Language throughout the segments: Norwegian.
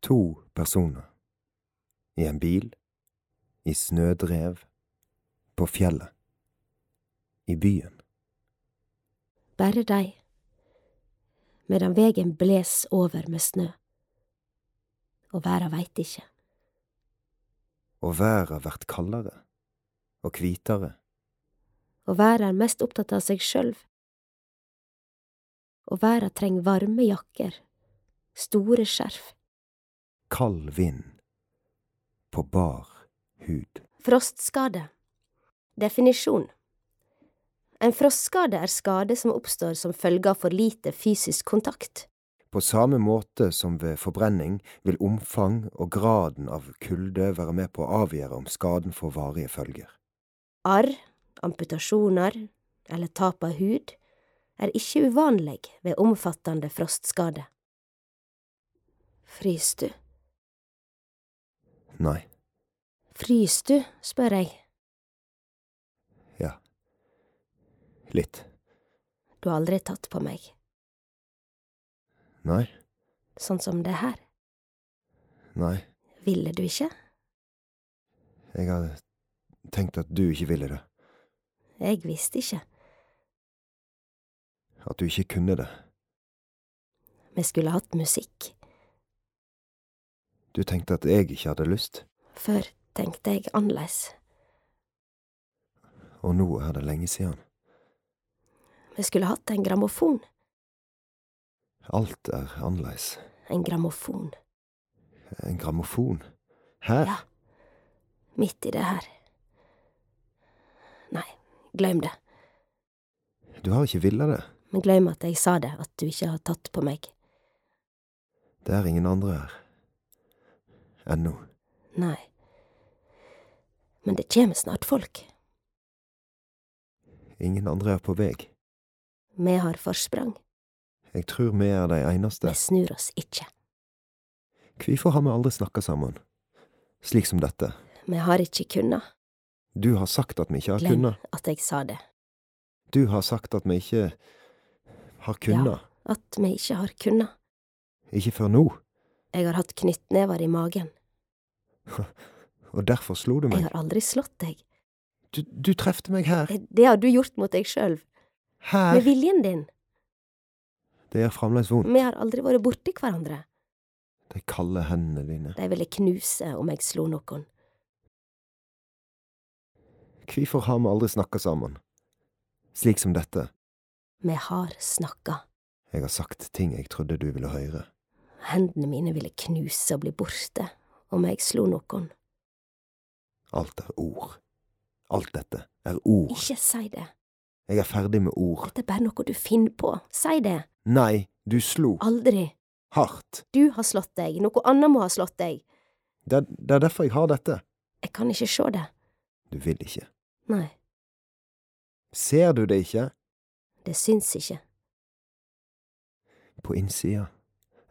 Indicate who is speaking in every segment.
Speaker 1: To personer. I en bil. I snødrev. På fjellet. I byen.
Speaker 2: bare dei, medan vegen bles over med snø, og verda veit ikkje,
Speaker 1: Og været vert kaldere. Og kvitere.
Speaker 2: og verda er mest opptatt av seg sjølv, og verda treng varme jakker, store skjerf,
Speaker 1: Kald vind. På bar hud.
Speaker 2: Frostskade Definisjon En frostskade er skade som oppstår som følge av for lite fysisk kontakt.
Speaker 1: På samme måte som ved forbrenning vil omfang og graden av kulde være med på å avgjøre om skaden får varige følger.
Speaker 2: Arr, amputasjoner eller tap av hud er ikke uvanleg ved omfattende frostskade. Frys du?
Speaker 1: Nei,
Speaker 2: Frys du, spør jeg.
Speaker 1: ja. Litt.
Speaker 2: Du har aldri tatt på meg,
Speaker 1: Nei,
Speaker 2: sånn som det her.
Speaker 1: nei,
Speaker 2: Ville du ikke?
Speaker 1: jeg hadde tenkt at du ikke ville det.
Speaker 2: Jeg visste ikke.
Speaker 1: At du ikke kunne det.
Speaker 2: Vi skulle hatt musikk.
Speaker 1: Du tenkte at jeg ikke hadde lyst,
Speaker 2: Før tenkte jeg annerleis.
Speaker 1: og nå er det lenge siden.
Speaker 2: Vi skulle hatt en grammofon.
Speaker 1: Alt er annerledes.
Speaker 2: En grammofon.
Speaker 1: En grammofon. Her?
Speaker 2: Ja. Midt i det her. Nei, glem det.
Speaker 1: Du har ikke villet det.
Speaker 2: Men glem at jeg sa det, at du ikke har tatt på meg.
Speaker 1: Det er ingen andre her. Ennå.
Speaker 2: Nei. Men det kjem snart folk.
Speaker 1: Ingen andre er på vei.
Speaker 2: Vi har forsprang.
Speaker 1: Jeg tror vi er de eneste.
Speaker 2: Vi snur oss ikke.
Speaker 1: Hvorfor har vi aldri snakka sammen? Slik som dette.
Speaker 2: Vi har ikke kunna.
Speaker 1: Du har sagt at vi ikke har
Speaker 2: Glem
Speaker 1: kunnet.
Speaker 2: at jeg sa det.
Speaker 1: Du har sagt at vi ikke har kunnet.
Speaker 2: Ja. At vi ikke har kunna.
Speaker 1: Ikke før nå.
Speaker 2: Jeg har hatt knyttnever i magen.
Speaker 1: Og derfor slo du
Speaker 2: Jeg
Speaker 1: meg.
Speaker 2: har aldri slått deg. Eh,
Speaker 1: Du, du trefte meg her.
Speaker 2: Det har du gjort mot deg sjøl. Med
Speaker 1: Her.
Speaker 2: viljen din.
Speaker 1: Det gjør fremdeles vondt.
Speaker 2: Vi har aldri vært borti hverandre.
Speaker 1: De kalde hendene dine.
Speaker 2: De ville knuse om jeg slo noen.
Speaker 1: Hvorfor har vi aldri snakka sammen? Slik som dette.
Speaker 2: Vi har snakka.
Speaker 1: Jeg har sagt ting jeg trodde du ville høre.
Speaker 2: Hendene mine ville knuse og bli borte om jeg slo noen.
Speaker 1: Alt er ord. Alt dette er ord.
Speaker 2: Ikke si det.
Speaker 1: Jeg er ferdig med ord.
Speaker 2: Dette er bare noe du finner på. Si det.
Speaker 1: Nei, du slo.
Speaker 2: Aldri.
Speaker 1: Hardt.
Speaker 2: Du har slått deg. Noe annet må ha slått deg.
Speaker 1: Det, er- det er derfor jeg har dette.
Speaker 2: Jeg kan ikke se det.
Speaker 1: Du vil ikke.
Speaker 2: Nei,
Speaker 1: Ser du det ikke?
Speaker 2: det syns ikke.
Speaker 1: På innsida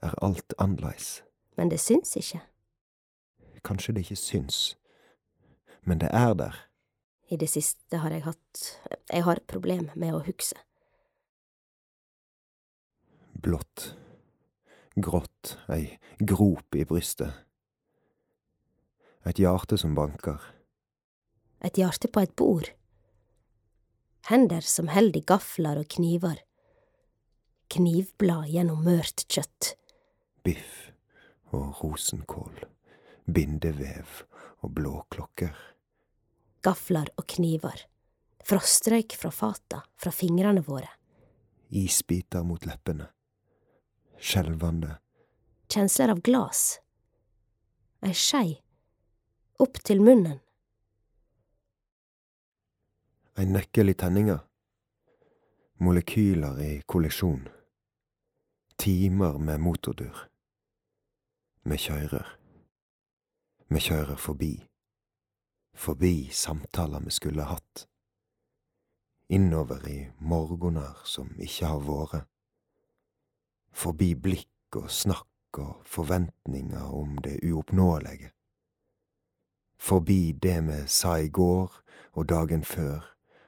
Speaker 1: er alt annerledes.
Speaker 2: Men det syns ikke.
Speaker 1: Kanskje det ikke syns, men det er der.
Speaker 2: I det siste har jeg hatt… Jeg har problem med å huske.
Speaker 1: Blått. Grått. Ei grop i brystet. Et hjerte som banker.
Speaker 2: Et hjerte på et bord. Hender som held i gafler og kniver. Knivblad gjennom mørt kjøtt.
Speaker 1: Biff og rosenkål. Bindevev og blåklokker.
Speaker 2: Gafler og kniver. Frostrøyk fra fata, fra fingrene våre.
Speaker 1: Isbiter mot leppene. Skjelvende.
Speaker 2: kjensler av glas. Ei skei. Opp til munnen.
Speaker 1: Ei nøkkel i tenninga. Molekyler i kollisjon. Timer med motordur. Vi kjører. Vi kjører forbi. Forbi samtaler vi skulle hatt. Innover i morgener som ikke har vært. Forbi blikk og snakk og forventninger om det uoppnåelige. Forbi det vi sa i går og dagen før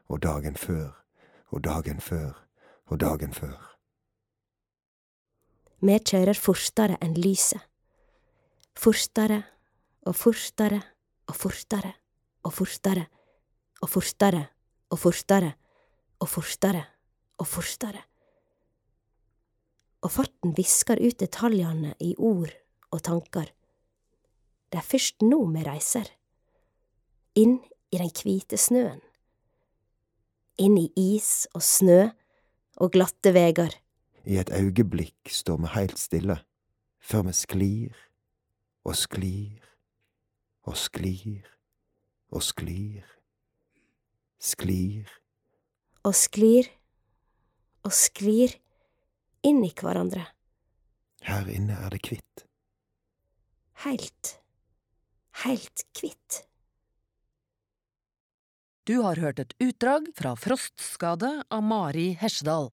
Speaker 1: og dagen før og dagen før og dagen før.
Speaker 2: Vi kjører fortere enn lyset. fortere og fortere og fortere og fortere og fortere og fortere og fortere og fortere. Og farten visker ut detaljene i ord og tanker. Det er først nå vi reiser. Inn i den hvite snøen. Inn i is og snø og glatte vegar.
Speaker 1: I et øyeblikk står vi heilt stille, før vi sklir og sklir og sklir og sklir. Sklir
Speaker 2: og sklir og sklir inn i hverandre,
Speaker 1: Her inne er det kvitt.
Speaker 2: heilt, heilt kvitt.
Speaker 3: Du har hørt et utdrag fra Frostskade av Mari Hesjedal.